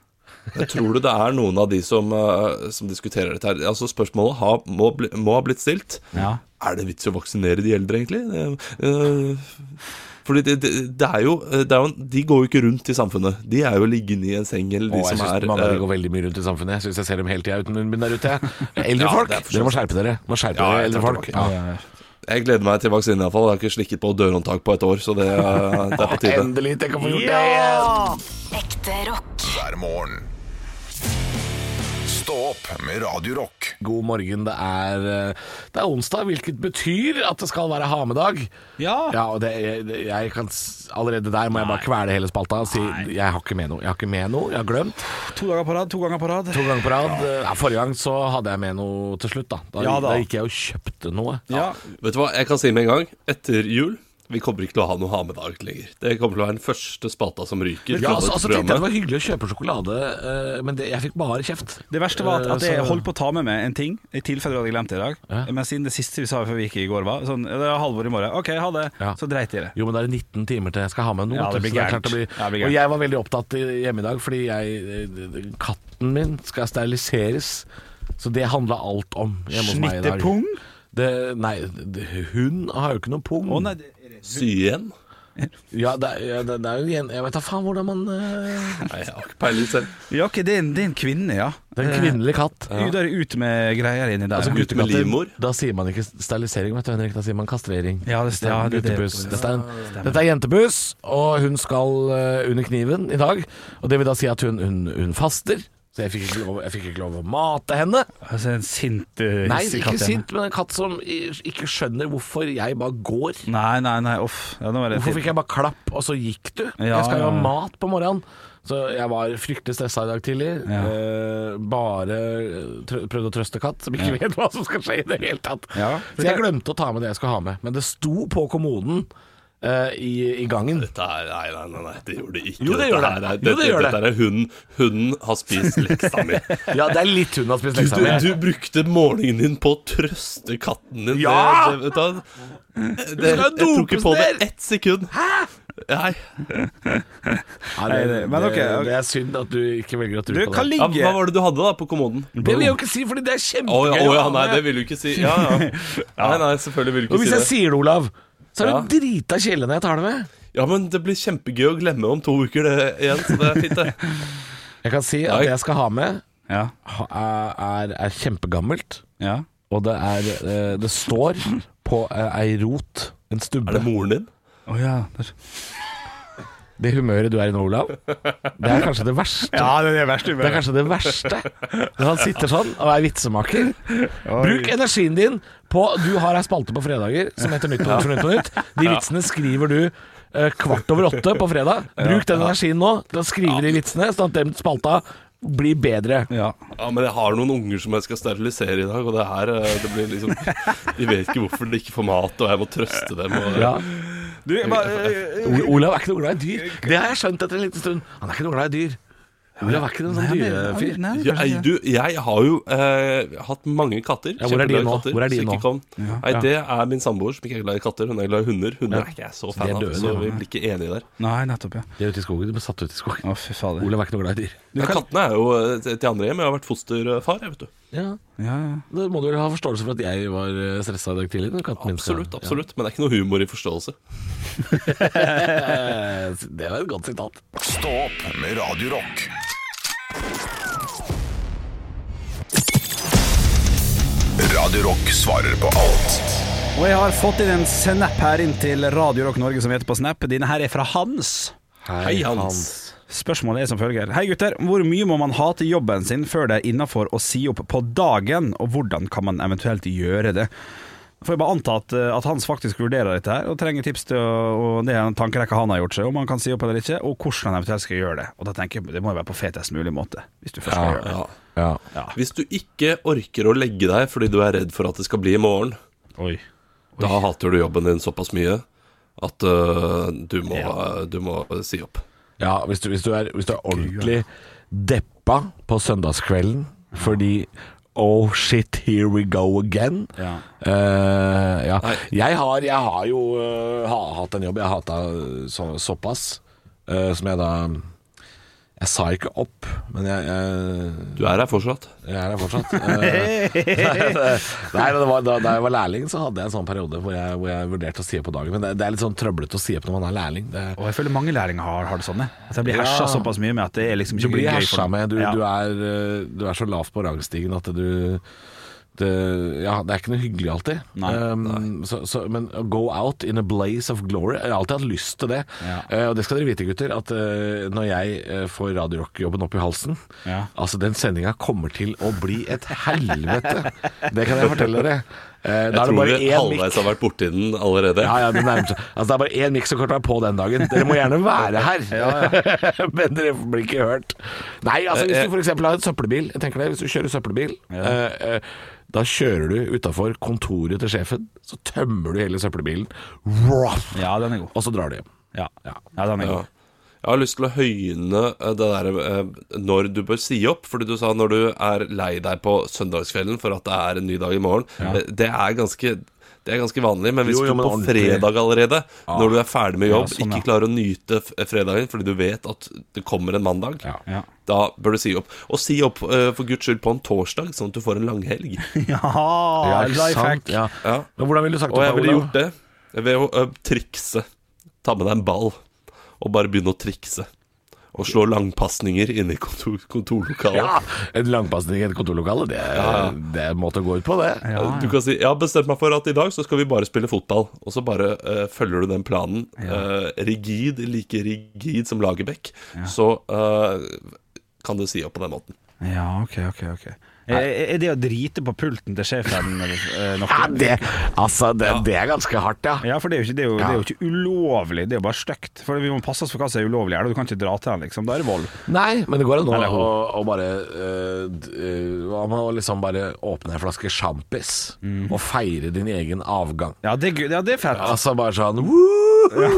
F: Jeg tror du det er noen av de som, eh, som diskuterer dette her. Altså Spørsmålet har, må, bli, må ha blitt stilt.
D: Ja.
F: Er det vits i å vaksinere de eldre, egentlig? Eh, eh, fordi det, det, det er jo, eh, det er jo en, De går jo ikke rundt i samfunnet. De er jo liggende i en seng, eller de
E: Å, jeg
F: som
E: syns
F: er
E: mange av de
F: eh,
E: går veldig mye rundt i samfunnet. Jeg syns jeg ser dem hele tida uten munnbind der ute. jeg. Eldre
F: Ja,
E: folk,
F: det er for
E: dere må skjerpe dere. Må skjerpe
F: Ja,
E: dere,
F: jeg
E: eldre
F: tar
E: folk.
F: tilbake.
E: Ja.
F: Jeg gleder meg til vaksinen, iallfall. Jeg har ikke slikket på dørhåndtak på et år, så det, eh, det er på tide.
E: Endelig, tenk å få gjort
B: Ekte rock.
A: hver morgen. Stå opp med Radio Rock.
E: det! God morgen, det er, eh, det er onsdag, hvilket betyr at det skal være ha-med-dag.
D: Ja.
E: Ja, og det, jeg, jeg kan, s- allerede der må jeg bare kvele hele spalta og si jeg har ikke med noe. Jeg har ikke med noe, jeg har glemt.
D: To dager på rad, to ganger på rad.
E: To ganger på rad. Ja, forrige gang så hadde jeg med noe til slutt, da. Da,
D: Ja, da.
E: da. gikk jeg og kjøpte noe.
D: Ja.
F: Vet du hva, jeg kan si med en gang Etter jul vi kommer ikke til å ha noe ha-med-dag lenger. Det kommer til å være den første spata som ryker.
E: Ja,
F: fra
E: altså,
F: dette
E: altså tenkte jeg det
F: programmet.
E: var hyggelig å kjøpe sjokolade, eh, men det, jeg fikk bare kjeft.
D: Det verste var at, at
E: Eh,
D: jeg
E: så-
D: holdt på å ta med meg en ting, i tilfelle vi hadde glemt det i dag. Men siden det siste vi sa før vi gikk i går, var sånn Det er halvår i morgen. OK, ha det.
E: Ja.
D: Så dreit jeg i det.
E: Jo, men det er 19 timer til jeg skal ha med noe.
D: Ja,
E: vet
D: det
E: du,
D: blir
E: så er
D: gærent.
E: klart det
D: Ja, det blir
E: og
D: gærent.
E: jeg var veldig opptatt i- hjemme i dag, fordi jeg, eh, katten min skal steriliseres. Så det handla alt om hjemme hos meg i dag.
D: Snittepung?
E: Det, nei, det- hun har jo ikke noe pung.
D: Å nei, det er det-
F: Sy igjen?
E: Ja, det, er- ja, det, det er jo igjen Jeg vet da faen hvordan man eh,
F: Nei, jeg har ikke peiling selv.
D: ja, OK, det er en, det er en kvinne, ja.
E: Det er en kvinnelig katt.
D: Ut, der, ut med greier inni der.
E: Altså,
D: ja.
F: gutt- med livmor?
E: Da sier man ikke sterilisering, vet du, Henrik. Da sier man kastrering.
D: Ja, det stemmer. Ja, det- det-
E: Guttebuss.
D: det-
E: Dette er, en,
D: stemmer.
E: dette er jentebuss, og hun skal eh, under kniven i dag. Og det vil da si at hun, hun, hun faster. Så jeg fikk, ikke lov, jeg fikk ikke lov å mate henne.
D: altså, en sint, uh,
E: Nei,
D: hissig
E: ikke
D: katt, ja.
E: sint, men en katt som i- ikke skjønner hvorfor jeg bare går.
D: Nei, nei, nei, uff. Ja, nå var det
E: Hvorfor fikk jeg bare klapp, og så gikk du?
D: Ja,
E: jeg skal jo
D: ja,
E: ha
D: ja.
E: mat på morgenen. Så jeg var fryktelig stressa i dag tidlig.
D: Ja.
E: Eh, bare eh, trø prøvde å trøste katt, som ikke vet hva som skal skje i det hele tatt.
D: Ja.
E: Så jeg glemte å ta med det jeg skulle ha med. Men det sto på kommoden eh, i, i gangen.
F: Dette er, nei, nei, nei, nei, det gjør det ikke.
E: Jo, det gjør
F: Dette
E: det.
F: her er-
E: Jo, det gjør det.
F: Dette her er hunden. Hunden har spist leksa mi.
E: Ja, det er litt hun har spist
F: Du,
E: leksa
F: du,
E: mi.
F: du brukte morgenen din på å trøste katten din.
E: Ja!
F: Det, det, vet du, hva?
E: skal
F: det, jeg tror ikke
E: dopes
F: på det
E: ned!
F: ett sekund. Hæ? Nei.
E: Ja,
D: Nei,
E: det,
D: det- men
E: det,
D: ok, ok.
E: det er synd at du ikke velger å tro
D: Du
E: på
D: kan
E: det.
F: Ja, hva
D: ligge
F: var det du hadde da på kommoden?
E: Det vil jeg jo ikke si, fordi det er
F: Å ja,
E: kjempegøy.
F: å, ja,
E: å ha
F: nei,
E: med.
F: det vil du ikke si. Ja, ja. Nei, nei, selvfølgelig vil du
E: Og
F: ikke
E: hvis jeg
F: si det.
E: sier det, Olav, så er det
F: Ja.
E: jo drita kjedelig når jeg tar det med.
F: Ja, men det blir kjempegøy å glemme om to uker det igjen, så det er fint, det.
E: Jeg kan si at
F: Nei.
E: det jeg skal ha med,
D: Ja,
E: ha- er, er kjempegammelt,
D: ja.
E: og det, er, eh, det står på eh, ei rot, en stubbe.
F: Er det
E: Det,
F: moren din?
D: Å ja. der-
E: humøret du er i nå, Olav, det er kanskje det verste.
D: Ja, det er det verste
E: Det er kanskje det verste. Når han sitter sånn og er vitsemaker. Bruk energien din på Du har ei spalte på fredager som heter Nytt på nytt for nytt på nytt. De vitsene skriver du eh, kvart over åtte på fredag. Bruk den energien nå til å skrive de vitsene, sånn at den spalta blir bedre.
D: Ja.
F: Ja, men jeg har noen unger som jeg skal sterilisere i dag, og det her eh, det blir liksom De vet ikke hvorfor de ikke får mat, og jeg må trøste dem. Og, eh,
E: Ja.
D: Du, jeg bare
E: O- Olav er ikke noe glad i dyr. Det har jeg skjønt etter en liten stund. Han er ikke noe glad i dyr. Olav er ikke noen sånn dyrefyr.
D: Nei,
F: Ja,
D: kanskje ikke.
F: du, jeg har jo eh, hatt mange katter.
E: Ja, hvor er de
F: kjempeglad i
E: nå?
F: Katter,
E: Hvor er de
F: som ikke
E: nå?
F: kom. Nei, Det er min samboer som ikke er glad i katter. Hun er glad i hunder. Hunder er ikke jeg så fan
E: de er
F: av,
E: døde,
F: så
E: ja.
F: vi blir ikke enige der.
D: Nei, nettopp, ja.
E: De er ute i skogen. De ble satt ut i skogen.
D: Å, fy fader.
E: Olav er ikke noe glad i dyr.
F: Men kattene er jo eh, til andre hjem. Jeg har vært fosterfar, jeg, vet du.
E: Ja,
D: Ja, ja.
E: Da må du vel ha forståelse for at jeg var stressa i dag tidlig. når katten min skal-
F: Absolutt, absolutt. Men det er ikke noe humor i forståelse.
E: Eh, Det var et godt sitat.
A: Stå opp med Radio Rock. Radio Rock svarer på alt
D: Og jeg har fått inn en snap her inn til Radio Rock Norge som heter på snap. Dine her er fra Hans.
F: Hei, Hans.
D: Spørsmålet er som følger. Hei gutter, hvor mye må man hate jobben sin før det er innafor å si opp på dagen, og hvordan kan man eventuelt gjøre det? Får jeg bare anta at, eh, at Hans faktisk vurderer dette her, og trenger tips til å, og det er en tankerekke han har gjort seg, om han kan si opp eller ikke, og hvordan han eventuelt skal gjøre det. Og da tenker jeg, Det må jo være på fetest mulig måte, hvis du først skal gjøre det.
F: Ja.
E: Ja.
F: Hvis du ikke orker å legge deg fordi du er redd for at det skal bli i morgen,
D: Oi.
F: da øh, hater du jobben din såpass mye at eh, du, må, eh, du må eh, si opp.
E: Ja, hvis du, hvis du, er, hvis du er ordentlig deppa på søndagskvelden fordi Oh shit, here we go again.
D: Ja.
E: Eh, ja. Jeg, har, jeg har jo eh, ha, hatt en jobb jeg hata så, såpass, eh, som jeg da Jeg sa ikke opp, men jeg, jeg
F: Du er her fortsatt.
E: jeg er her fortsatt. Eh, Nei, men det var, da, da jeg var lærling, så hadde jeg en sånn periode hvor jeg, hvor jeg vurderte å si opp på dagen. Men det, det er litt sånn trøblete å si opp når man er lærling. Det,
D: Og jeg føler mange lærlinger har, har det sånn. jeg. At jeg blir
E: Ja.
D: hersa såpass mye med at det er liksom
E: du
D: ikke
E: blir
D: gøy for
E: hersa
D: dem.
E: med. Du,
D: Ja.
E: du, er, eh, du er så lavt på rangstigen at du det, ja, det er ikke noe hyggelig alltid.
D: Nei,
E: Um, Så, så, men å go out in a blaze of glory Jeg har alltid hatt lyst til det.
D: Ja.
E: Eh, og det skal dere vite, gutter, at eh, når jeg eh, får Radio Rock-jobben opp i halsen
D: Ja.
E: Altså, den sendinga kommer til å bli et helvete! det kan jeg fortelle dere. Eh, da
F: Jeg
E: er det
F: tror
E: bare
F: vi
E: én mikk.
F: halvveis har vært borti den allerede.
E: Ja, ja, det nærmer seg. Altså, det er bare én miks som kan være på den dagen. Dere må gjerne være her, men dere blir ikke hørt. Nei, altså hvis du f.eks. har en søppelbil, jeg tenker det, hvis du kjører søppelbil eh, eh, da kjører du utafor kontoret til sjefen, så tømmer du hele søppelbilen, Ruff!
D: Ja, den er god.
E: og så drar du hjem.
D: Ja, ja den er
F: Ja.
D: god.
F: Jeg har lyst til å høyne eh, det der eh, når du bør si opp. Fordi du sa når du er lei deg på søndagskvelden for at det er en ny dag i morgen. Eh, Det er ganske det er ganske vanlig, men
E: Jo,
F: hvis
E: jo,
F: du
E: men
F: på
E: ordentlig.
F: fredag allerede, når du er ferdig med jobb,
D: Ja, sånn, ja.
F: ikke klarer å nyte f- fredagen fordi du vet at det kommer en mandag,
D: Ja.
F: da bør du si opp. Og si opp eh, for guds skyld på en torsdag, sånn at du får en langhelg.
D: Ja,
E: ikke
D: life
E: sant?
D: hack.
E: Ja.
F: Ja.
E: Men hvordan ville du sagt
F: Og
E: det?
F: jeg ville
E: Olav?
F: gjort det ved å ø, trikse. Ta med deg en ball og bare begynne å trikse. Og slå langpasninger inne i kontor, kontorlokalet.
E: ja, En langpasning i et kontorlokale, det, det er en måte å gå ut på, det.
F: Eh, Du kan si 'Jeg har bestemt meg for at i dag så skal vi bare spille fotball', og så bare ø, følger du den planen. ø, rigid, like rigid som Lagerbäck. Så ø, kan du si opp på den måten.
D: Ja, ok, ok, ok. Er, er det å drite på pulten til sjefen eh, noe?
E: Ja, det, altså, det, det er ganske hardt, ja.
D: Ja, for det er jo ikke, det er jo, det er jo ikke ulovlig, det er jo bare stygt. For vi må passe oss for hva som er ulovlig her, du kan ikke dra til han, liksom. Da er det vold.
E: Nei, men det går an å,
D: Eller
E: å,
D: hun.
E: å bare øh, d- øh, Hva med å liksom bare åpne en flaske sjampis og feire din egen avgang?
D: Ja, det er, gøy- ja, det er fett.
E: Altså bare sånn woo!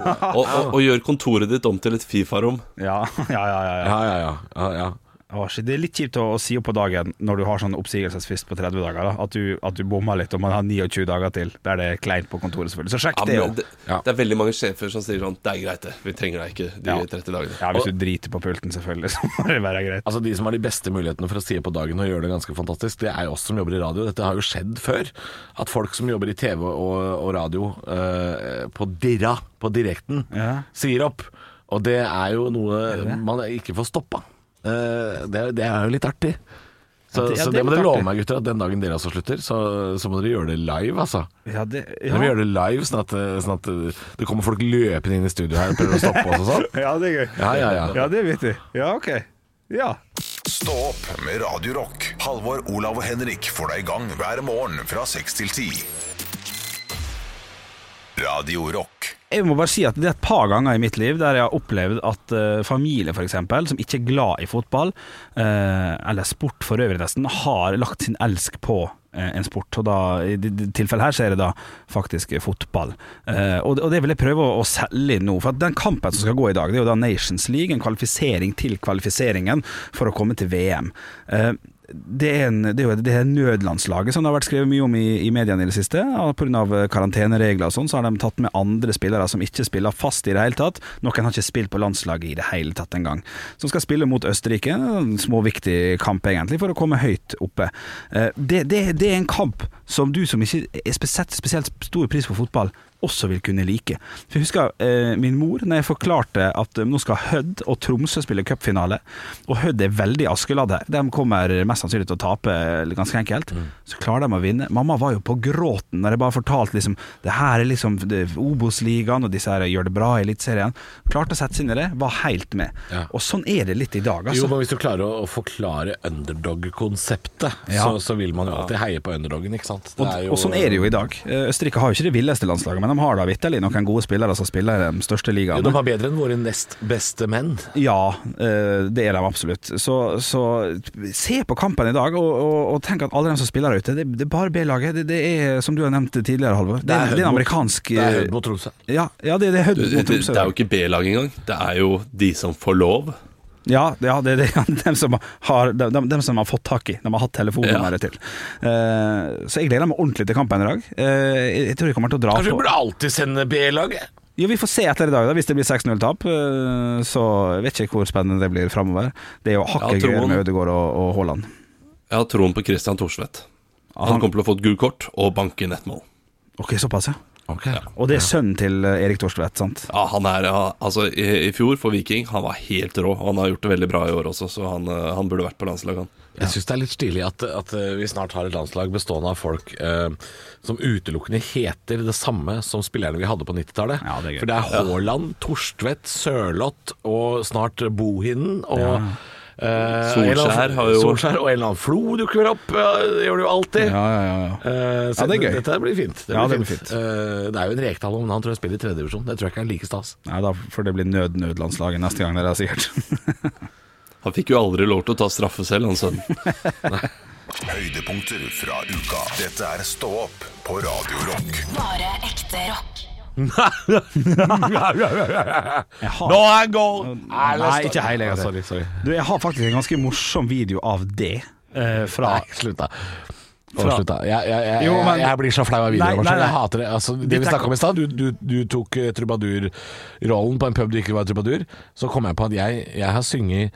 E: Ah,
F: Og, og, og gjør kontoret ditt om til et Fifa-rom.
D: Ja, ja, ja. ja, ja.
E: Ja, ja, ja. ja, ja.
D: Å, shit, det er litt kjipt å, å si opp på dagen når du har sånn oppsigelsesfrist på 30 dager. Da. At du, at du bommer litt og man har 29 dager til. Der det er kleint på kontoret, selvfølgelig. Så sjekk
F: Ja,
D: det
F: men
D: jo.
F: det,
E: Ja.
F: det er veldig mange sjefer som sier sånn 'Det er greit, det. Vi trenger deg ikke de
D: Ja.
F: 30 dagene'.
D: Ja, hvis du driter på pulten, selvfølgelig, så må det være greit.
E: Altså De som har de beste mulighetene for å si på dagen og gjøre det ganske fantastisk, det er jo oss som jobber i radio. Dette har jo skjedd før. At folk som jobber i TV og, og radio eh, på dirra, på direkten,
D: Ja.
E: sier opp. Og det er jo noe man ikke får stoppa. Eh, det, er- det er jo litt artig. Så,
D: Ja, det- ja,
E: så
D: det
E: det
D: er
E: må dere
D: litt
E: love
D: artig.
E: meg, gutter, at den dagen dere også slutter, så, så må dere gjøre det live, altså.
D: Ja, det,
E: Dere må
D: ja.
E: gjøre det live, sånn at, eh, sånn at eh, det kommer folk løpende inn i studio her og prøver å stoppe oss og sånn.
D: ja, det er gøy.
E: Ja, ja, ja.
D: Ja, det vet vi. Ja, OK. Ja.
A: Stå opp med Radio Rock. Halvor, Olav og Henrik får deg i gang hver morgen fra 6 til 10. Radio Rock.
D: Jeg må bare si at det er et par ganger i mitt liv der jeg har opplevd at eh, familie for eksempel, som ikke er glad i fotball, eh, eller sport for øvrig nesten, har lagt sin elsk på eh, en sport. Og da, I det- det tilfellet her så er det da faktisk fotball. Eh, og, det- og det vil jeg prøve å, å selge inn nå. For at den kampen som skal gå i dag, det er jo da Nations League, en kvalifisering til kvalifiseringen for å komme til VM. Eh, det er, en, det, er jo, det er nødlandslaget som det har vært skrevet mye om i, i mediene i det siste. Pga. eh, karanteneregler og sånn, så har de tatt med andre spillere som ikke spiller fast i det hele tatt. Noen har ikke spilt på landslaget i det hele tatt engang. Som skal spille mot Østerrike. En småviktig kamp, egentlig, for å komme høyt oppe. Eh, Det, det, det er en kamp som du som ikke er spe- setter spesielt stor pris på fotball, også vil kunne like. For jeg husker eh, min mor, når jeg forklarte at eh, nå skal Hødd og Tromsø spille cupfinale, og Hødd er veldig Askeladd her, de kommer mest sannsynlig til å tape eh, ganske enkelt,
E: Mm.
D: så klarer de å vinne. Mamma var jo på gråten når jeg bare fortalte liksom det her er liksom det- Obos-ligaen, og disse her gjør det bra i Eliteserien. Klarte å sette seg inn i det, var helt med.
E: Ja.
D: Og sånn er det litt i dag,
E: Jo,
D: altså.
E: men hvis du klarer å, å forklare underdog-konseptet,
D: Ja.
E: så, så vil man jo alltid heie på underdogen, ikke sant? Det
D: Og, sånn
E: er jo-
D: og sånn er det jo i dag. Eh, Østerrike har jo ikke det villeste landslaget, men men de har da vitterlig noen gode spillere som spiller i de største
E: Jo, de
D: ligaene.
E: er bedre enn våre nest beste menn.
D: Ja, eh, det er de absolutt. Så, så se på kampen i dag, og, og, og tenk at alle de som spiller der ute, det, det er bare B-laget. Det, det er, som du har nevnt tidligere, Halvor, det, er- det er en amerikansk
E: Det er
D: eh,
E: Hødd mot Tromsø.
D: Ja, ja, det, det er Hødd
F: Det,
D: mot
F: det,
D: Tromsø.
F: det er jo ikke B-lag engang. Det er jo de som får lov.
D: Ja, ja det er det. Dem som, har, dem, dem, dem som har fått tak i. De har hatt telefonnummeret til. Eh, så jeg gleder meg ordentlig til kampen i dag. Eh, jeg, jeg tror jeg kommer til å dra
E: Kanskje vi
D: på
E: burde alltid sende B-laget?
D: Jo, Vi får se etter i dag, da hvis det blir 6-0-tap. eh, så jeg vet ikke hvor spennende det blir framover. Det er jo
F: Ja,
D: hakket
F: troen.
D: gøyere med Ødegaard og, og Haaland.
F: Jeg har troen på Christian Thorsvedt. Han
D: Han-
F: kommer til å få et gult kort og banke inn ett mål.
D: Ok, såpass, ja.
E: Ok.
D: Og det er sønnen til eh, Erik Torstvedt, sant?
F: Ja, han er, ja, altså i, I fjor for Viking, han var helt rå. Han har gjort det veldig bra i år også, så han, eh, han burde vært på landslaget, han.
E: Jeg syns det er litt stilig at, at eh, vi snart har et landslag bestående av folk eh, som utelukkende heter det samme som spillerne vi hadde på 90-tallet.
D: Ja, det er gøy.
E: For det er Haaland, Torstvedt, Sørloth og snart Bohinen. Og, eh, en eller annen-
F: Solskjær har jo-
E: Solskjær og en eller annen Flo dukker opp. Ja, det gjør det jo alltid.
D: ja, ja. ja.
E: Eh, så
D: Ja, det er gøy.
E: Dette blir fint. Det blir
D: Ja, det
E: fint.
D: blir fint.
E: Eh, det er jo en Rekdal om men han tror jeg spiller i tredje divisjon. Det tror jeg ikke er like stas.
D: Nei, da får det bli nød-nødlandslaget neste gang, dere, sikkert.
F: Han fikk jo aldri lov til å ta straffe selv, han sønnen.
A: Høydepunkter fra uka. Dette er Stå opp på Radio Rock.
B: Bare ekte rock.
E: Nå er han goal!
D: Nei, ikke hele, jeg.
E: Sorry, sorry.
D: Du, jeg har faktisk en ganske morsom video av det. eh, fra
E: Nei, slutt, da. Å,
D: Fra-
E: slutt da. Jeg, jeg, jeg,
D: Jo, men-
E: jeg, jeg blir så flau av
D: Nei,
E: videoer.
D: nei,
E: Marcel. Jeg
D: nei.
E: hater det. Altså, det vi
D: tenker-
E: snakka om i stad, du, du, du tok eh, trubadurrollen på en pub du ikke var trubadur. Så kom jeg på at jeg, jeg har sunget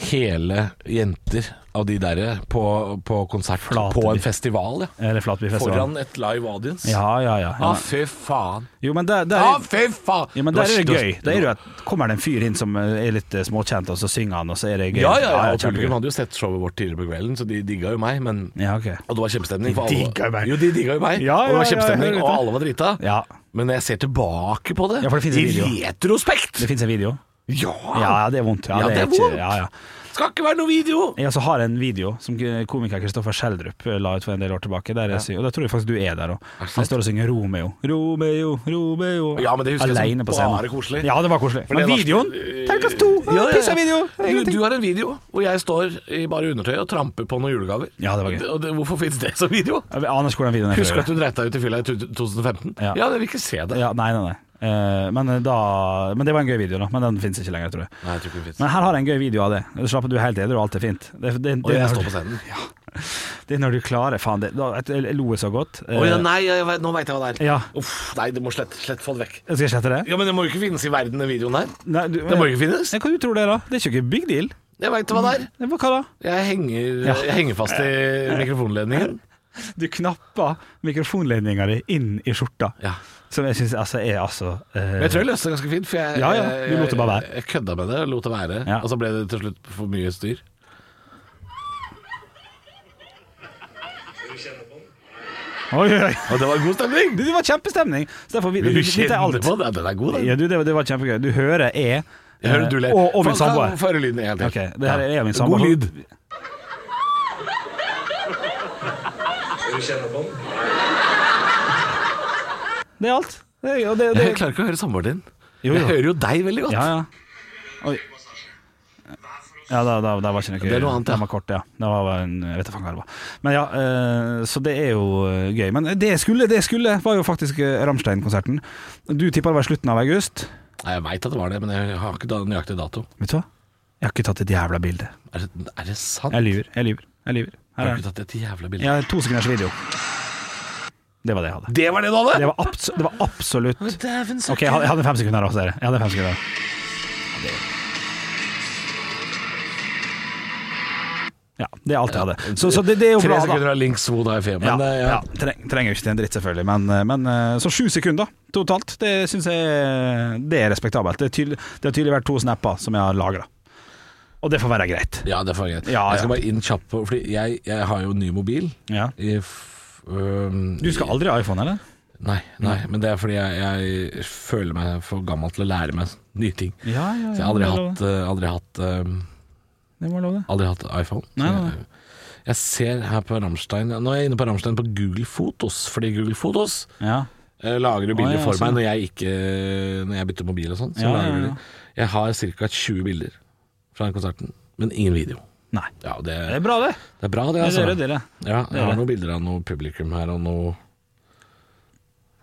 E: hele jenter av de derre på, på konsert
D: Flate
E: på
D: de.
E: en festival, ja.
D: Eller Flatbyfestivalen.
E: Foran et live audience.
D: Ja, ja, ja.
E: Ah, fy faen.
D: Jo, men der, der,
E: Ah, fy faen.
D: ja, men
E: Du
D: der
E: har-
D: er det
E: du har-
D: gøy. Der er det jo at kommer det en fyr inn som eh, er litt eh, småkjent, og så synger han, og så er det gøy.
E: Ja, ja, ja. og
D: kjempegøy.
E: Publikum hadde jo sett showet vårt tidligere på kvelden, så de digga jo meg, men
D: Ja, ok.
E: Og det var kjempestemning. for
D: De
E: alle-
D: digga jo meg.
E: Jo, de digga jo meg.
D: Ja,
E: og det var
D: ja, ja, jeg
E: kjempestemning,
D: hører
E: og
D: det.
E: alle var drita.
D: Ja.
E: Men når jeg ser tilbake på det,
D: Ja, for det finnes en video.
E: i retrospekt
D: Det fins en video.
E: ja.
D: Ja, ja, det er vondt. Ja,
E: Ja,
D: det,
E: det er
D: er
E: vondt.
D: ikke, ja, ja.
E: Skal ikke være noe video!
D: Jeg også har en video som komiker Kristoffer Schjelderup eh, la ut for en del år tilbake. Der jeg synger, og da tror jeg faktisk du er der òg. Jeg står og synger Romeo, Romeo, Romeo.
E: Ja, men det husker jeg som
D: Alene på scenen.
E: bare koselig.
D: Ja, det var koselig.
E: det
D: Men
E: var-
D: videoen Terningkast to!
E: Ja, ja.
D: Pissa video!
E: Du, du har en video hvor jeg står i bare undertøy og tramper på noen julegaver.
D: Ja, det var gøy.
E: Og det, hvorfor fins det som video?
D: Jeg aner ikke hvordan videoen er.
E: Husker du at du dreit deg ut i fylla i to- 2015?
D: Ja.
E: Ja, jeg vil ikke se det.
D: Ja, nei, nei, nei. Eh, men, da, men det var en gøy video, da. Men den fins ikke lenger, tror jeg.
E: Nei, jeg tror ikke det fins.
D: Men her har jeg en gøy video av det. Slapp av, du er helt edru, og alt er fint. Det, det, det,
E: Og jeg
D: er
E: står
D: når,
E: på scenen.
D: det er når du klarer Faen, det, da, jeg, jeg lo så godt. Eh,
E: Å ja, nei, jeg, vet- nå veit jeg hva det er.
D: Ja.
E: Uff, nei, det må slett, slett få det vekk.
D: Skal jeg slette det?
E: Ja, Men det må jo ikke finnes i verden, den videoen her.
D: Nei, du,
E: Det må jo ikke finnes.
D: Nei, Hva du tror det er, da? Det er ikke big deal.
E: Jeg veit hva det er.
D: Det var hva da?
E: Jeg henger, jeg henger fast i mikrofonledningen.
D: Du knapper mikrofonledninga di inn i skjorta.
E: Ja.
D: Som jeg syns altså er altså eh,
E: Men jeg tror jeg løste det ganske fint, for jeg,
D: Ja, ja, du lot det bare være.
E: jeg, jeg kødda med det. Lot det være.
D: Ja.
E: Og så ble det til slutt for mye styr.
D: Oi, oi, oi.
E: Og det var god stemning!
D: Det var kjempestemning! Så derfor vi,
E: Du
D: vi, vi,
E: kjenner
D: alt.
E: på det. Den er god, den.
D: Ja, du, det, var- det var kjempegøy. Du hører E. jeg
E: Jeg hører du ler.
D: Og, og min
E: Få-
D: samboer.
E: Få høre lyden en gang til.
D: Ok, det her er jeg og min
E: God
D: samboer.
E: lyd.
D: Det er alt. Det, er- og det, det,
E: Jeg klarer ikke å høre samboeren din.
D: Jo,
E: Jeg
D: jo.
E: hører jo deg veldig godt.
D: Ja, ja. Oi. Ja, da, da, da var ikke noe
E: Det er noe annet, ja.
D: Den var kort, ja. Det var bare en, jeg vet ikke hva det var. Men ja, eh, så det er jo eh, gøy. Men det jeg skulle, det jeg skulle, var jo faktisk eh, Rammstein-konserten. Du tippa det var i slutten av august.
E: Nei, jeg veit at det var det, men jeg har ikke da nøyaktig dato.
D: Vet du hva? Jeg har ikke tatt et jævla bilde.
E: Er det, er det sant?
D: Jeg lyver, jeg lyver. Jeg lyver.
E: Jeg
D: Her
E: har
D: er
E: ikke
D: den.
E: tatt et jævla bilde.
D: Jeg har to sekunders video. Det var det jeg hadde.
E: Det var det du hadde?
D: Det var, abso det var absolutt
E: Men dæven søren.
D: Ok, jeg hadde, jeg hadde fem sekunder også, dere. Jeg hadde fem sekunder. Ja, det er alt jeg hadde. Så, så det, det er jo
E: Tre
D: bra, da.
E: sekunder av Link Swoo da i Femen.
D: Ja,
E: eh,
D: ja. Treng, trenger jo ikke til en dritt, selvfølgelig, men, men eh, så sju sekunder totalt. Det syns jeg er- det er respektabelt. Det, er tydelig, det har tydelig vært to snapper som jeg har lagra, og det får være greit.
E: Ja, det er for greit.
D: Ja,
E: jeg skal
D: ja.
E: bare inn kjapt på Fordi jeg, jeg har jo ny mobil.
D: Ja.
E: I f, øhm,
D: Du skal aldri ha iPhone, eller?
E: Nei, nei, men det er fordi jeg, jeg føler meg for gammel til å lære meg nye ting.
D: Ja, ja, ja,
E: Så jeg har aldri
D: det er
E: hatt, eh, aldri hatt, øhm,
D: Det må jeg love deg.
E: aldri hatt iPhone. Så
D: Nei, nei, nei.
E: Jeg, jeg ser her på Ramstein Nå er jeg inne på Ramstein på Google Fotos, fordi Google Fotos
D: Ja.
E: eh, lager du bilder
D: Å, ja,
E: for
D: sånn.
E: meg når jeg, ikke, når jeg bytter mobil og sånn. Så
D: Ja, ja,
E: lager du
D: ja.
E: de. Jeg har ca. 20 bilder fra den konserten, men ingen video.
D: Nei. sånn,
E: Ja, det,
D: Det er bra, det.
E: det er bra, det.
D: Det
E: altså.
D: er dere.
E: Ja, jeg
D: er
E: har
D: det.
E: noen bilder av noe publikum her, og noe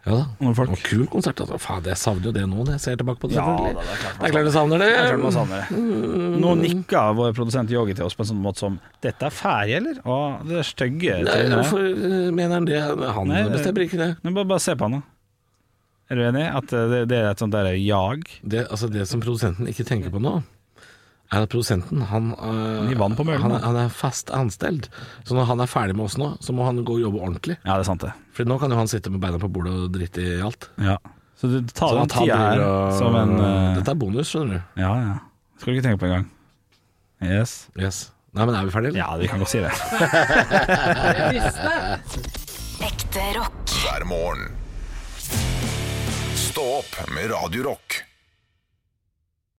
E: Ja da.
D: Noen folk.
E: Det var kul konsert. Altså. Faen, jeg savner jo det nå når jeg ser tilbake på det. selvfølgelig. det er klart du savner det.
D: Jeg tror man savner det. Nå nikka vår produsent Yogi til oss på en sånn måte som Dette er ferie, eller? Å, det er stygge
E: Nei,
D: trynet.
E: Hvorfor eh, mener han det? Han
D: Nei, det-
E: bestemmer ikke det.
D: Men Bare, bare se på han, da. Er du enig? At eh, det, det er et sånt derre jag?
E: det. Altså det som produsenten ikke tenker på nå, er at produsenten han, eh,
D: gir vann på møllen,
E: han,
D: da.
E: er- han er fast anstelt. Så når han er ferdig med oss nå, så må han gå og jobbe ordentlig.
D: Ja, det er sant, det.
E: For nå kan jo han sitte med beina på bordet og drite i alt.
D: Ja. Så du tar
E: Så Sånn
D: den
E: at han
D: tida her
E: driver og-
D: som en eh,
E: Dette er bonus, skjønner du.
D: Ja, ja. Skal du ikke tenke på engang. Yes.
E: Yes. Nei, men er vi ferdige? eller?
D: Ja, vi kan godt si det.
B: Ekte rock.
A: hver morgen. Stå opp med Radio Rock.